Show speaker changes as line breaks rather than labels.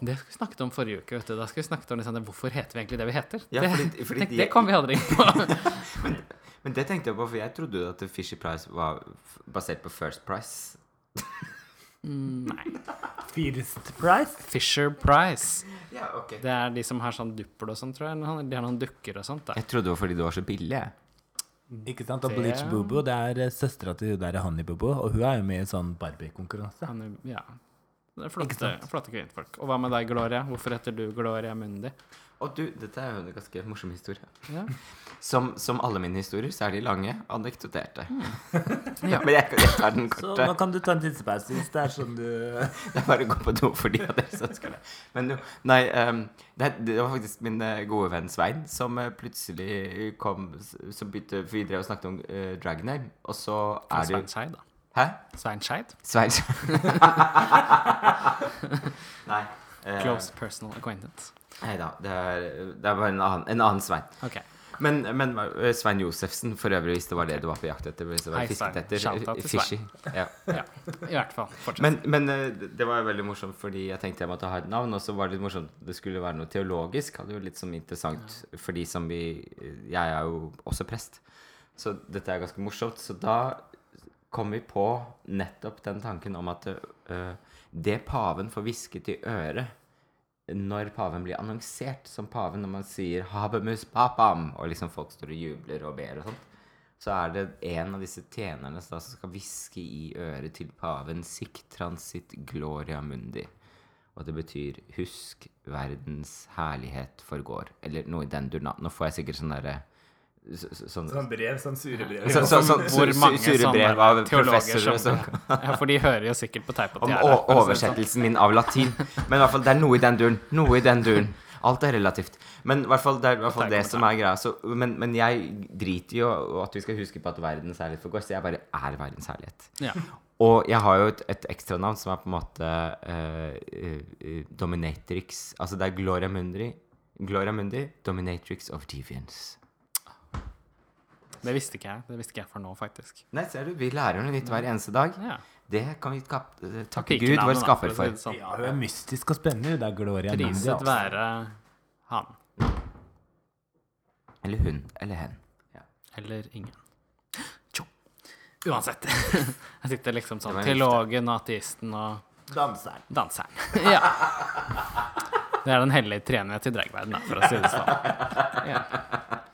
Det skal vi snakket om forrige uke. vet du. Da skal vi snakket om liksom, det, Hvorfor heter vi egentlig det vi heter?
Ja, fordi-
det,
fordi
tenk,
de-
det kom vi aldri inn på.
Men det tenkte jeg på, for jeg trodde jo at Fishy Price var f- basert på First Price.
First Price.
Fisher Price.
Ja, ok.
Det er de som har sånn duppel og sånn, tror jeg. eller noe. De har noen dukker og sånt. da.
Jeg trodde det var fordi det var så billig. jeg.
Ikke sant? Og
Det-
Bleach Bobo, det er eh, søstera til hun der Honey Bobo, og hun er jo med i sånn Barbie-konkurranse.
Han, er- ja. Det er flotte, flotte kvinnfolk. Og hva med deg, Gloria? Hvorfor heter du Gloria Mundi?
Og du, dette er jo en ganske morsom historie.
Ja.
Som, som alle mine historier, så er de lange, anekdoterte.
Ja.
Men jeg, jeg tar den
Så
Sånn
nå
korte.
kan du ta en tidspause hvis det er sånn du
Jeg bare går på do for de av dere som ønsker det. Men jo, nei, ehm, det, det var faktisk min eh, gode venn Svein som eh, plutselig kom s- Som begynte for vi drev og snakket om eh, Dragon Name, og så er det
Svein
jo
Skeid, da.
Hæ?
Svein Skeid.
Svein Nei. eh,
Close personal acquaintance.
nei da. Det er, det er bare en annen, en annen Svein.
Ok.
Men, men eh, Svein Josefsen, for øvrig, hvis det var det du var på jakt etter. Hvis det var
Hei,
fisket
Svein.
etter
Shout out
eh,
til
Fishy.
Svein.
Ja.
Ja. I hvert fall. Fortsett.
Men, men eh, det var jo veldig morsomt, fordi jeg tenkte jeg måtte ha et navn. Og så var det litt morsomt det skulle være noe teologisk. Hadde jo litt sånn interessant for de som vi Jeg er jo også prest, så dette er ganske morsomt. Så da kom vi på nettopp den tanken om at eh, det paven får hvisket i øret når paven blir annonsert som paven, når man sier 'Habemus papam', og liksom folk står og jubler og ber og sånt, så er det en av disse tjenerne da, som altså skal hviske i øret til paven 'Sic transit gloria mundi'. Og det betyr 'Husk verdens herlighet forgår', eller noe i den durna. Nå får jeg sikkert sånn derre så, så, sånn,
Sånn brev, sånn sure brev.
så, så, så,
Hvor mange
sure brev
sånne
av
teologer
professorer
som
som
Ja, for de hører jo sikkert på teip at
om
de er der. for å si
o-
det sånn.
oversettelsen min av latin. Men i hvert fall, det er noe i den duren. Noe i den duren. Alt er relativt. Men i hvert fall, det er i hvert fall det som er greia. Så, men, men jeg driter jo i at vi skal huske på at verdens herlighet forgår, så jeg bare er verdens herlighet.
Ja.
Og jeg har jo et, et ekstranavn som er på en måte eh, eh, eh, Dominatrix. Altså det er Gloria Mundi, Gloria Mundi, Dominatrix of Deviance.
Det visste ikke jeg. Det visste ikke jeg for nå, faktisk.
Nei, ser du, vi lærer noe nytt hver eneste dag.
Ja.
Det kan vi kap eh, takke Gud,
Pikenavnet,
vår
da,
skaper,
for å si
for.
det sånn.
Ja, hun er mystisk og spennende, hun der Gloria Mundi.
Priset
altså.
være han. sånn.
Eller hun. Eller hen.
Eller ingen. Tjo. Uansett. Jeg sitter liksom sånn
Det var en
Teologen og ateisten og
Danseren.
danseren. Ja. Det er den hellige treenighet i dragverden, da, for å si det sånn. Ja.